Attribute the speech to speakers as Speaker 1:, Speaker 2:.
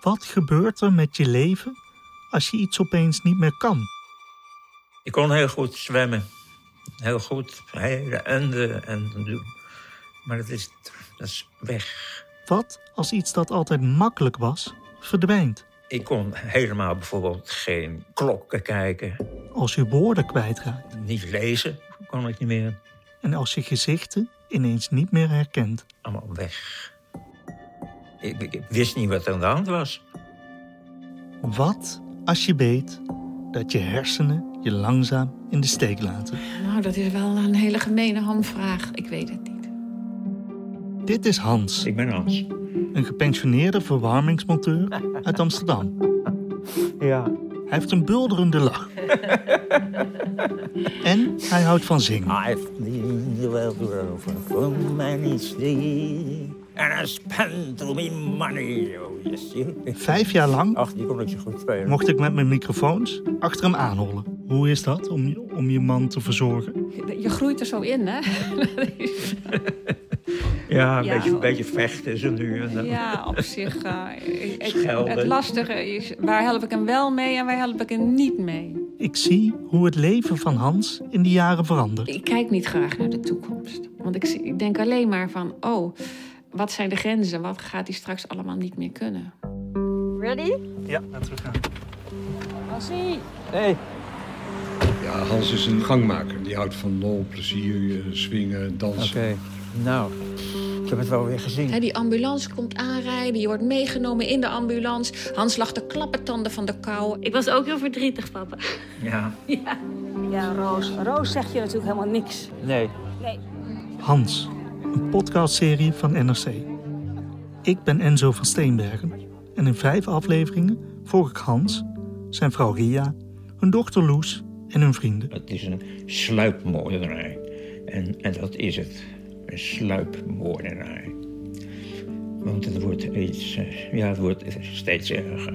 Speaker 1: Wat gebeurt er met je leven als je iets opeens niet meer kan?
Speaker 2: Ik kon heel goed zwemmen. Heel goed. Hele enden en doen. Maar dat is, dat is weg.
Speaker 1: Wat als iets dat altijd makkelijk was, verdwijnt?
Speaker 2: Ik kon helemaal bijvoorbeeld geen klokken kijken.
Speaker 1: Als je woorden kwijtraakt
Speaker 2: Niet lezen kon ik niet meer.
Speaker 1: en als je gezichten ineens niet meer herkent.
Speaker 2: Allemaal weg. Ik, ik- ik wist niet wat er aan de hand was.
Speaker 1: Wat als je weet dat je hersenen je langzaam in de steek laten?
Speaker 3: Nou, dat is wel een hele gemene hamvraag. Ik weet het niet.
Speaker 1: Dit is Hans,
Speaker 2: Ik ben Hans.
Speaker 1: een gepensioneerde verwarmingsmonteur uit Amsterdam.
Speaker 2: Ja.
Speaker 1: Hij heeft een bulderende lach. En hij houdt van zingen.
Speaker 2: I've been the welder from many seas. And I spent to me money. Oh, yes, you.
Speaker 1: Vijf jaar lang
Speaker 2: Ach, die kon ik zo goed spelen.
Speaker 1: mocht ik met mijn microfoons achter hem aanhollen. Hoe is dat om, om je man te verzorgen?
Speaker 3: Je groeit er zo in, hè? Dat is-
Speaker 2: Ja, een
Speaker 3: Ja.
Speaker 2: beetje, een beetje vechten ze nu en dan.
Speaker 3: ja, op zich. eh, ik- ik-
Speaker 2: Schelden.
Speaker 3: het lastige is, waar help ik hem wel mee en waar help ik hem niet mee?
Speaker 1: Ik zie hoe het leven van Hans in die jaren verandert.
Speaker 3: Ik kijk niet graag naar de toekomst. Want ik, zie- ik denk alleen maar van, oh, wat zijn de grenzen? Wat gaat hij straks allemaal niet meer kunnen?
Speaker 1: Ja, laten we gaan.
Speaker 4: Ja, Hans is een gangmaker. Die houdt van lol, plezier, eh, swingen, dansen.
Speaker 2: nou, ik heb het wel weer gezien.
Speaker 3: Hè, die ambulance komt aanrijden, je wordt meegenomen in de ambulance. Hans lag de klappertanden van de kou.
Speaker 5: Ik was ook heel verdrietig, papa.
Speaker 2: Ja,
Speaker 6: Ja, Roos. Roos zegt je natuurlijk helemaal niks.
Speaker 2: nee.
Speaker 1: Hans, een podcastserie van NRC. Ik ben Enzo van Steenbergen en in vijf afleveringen volg ik Hans, zijn vrouw Ria, hun dochter Loes en hun vrienden.
Speaker 2: Het is een sluipmoordenaar. En, en dat is het. Een sluipmoordenaar. Want het wordt, iets, eh, ja, het wordt steeds erger.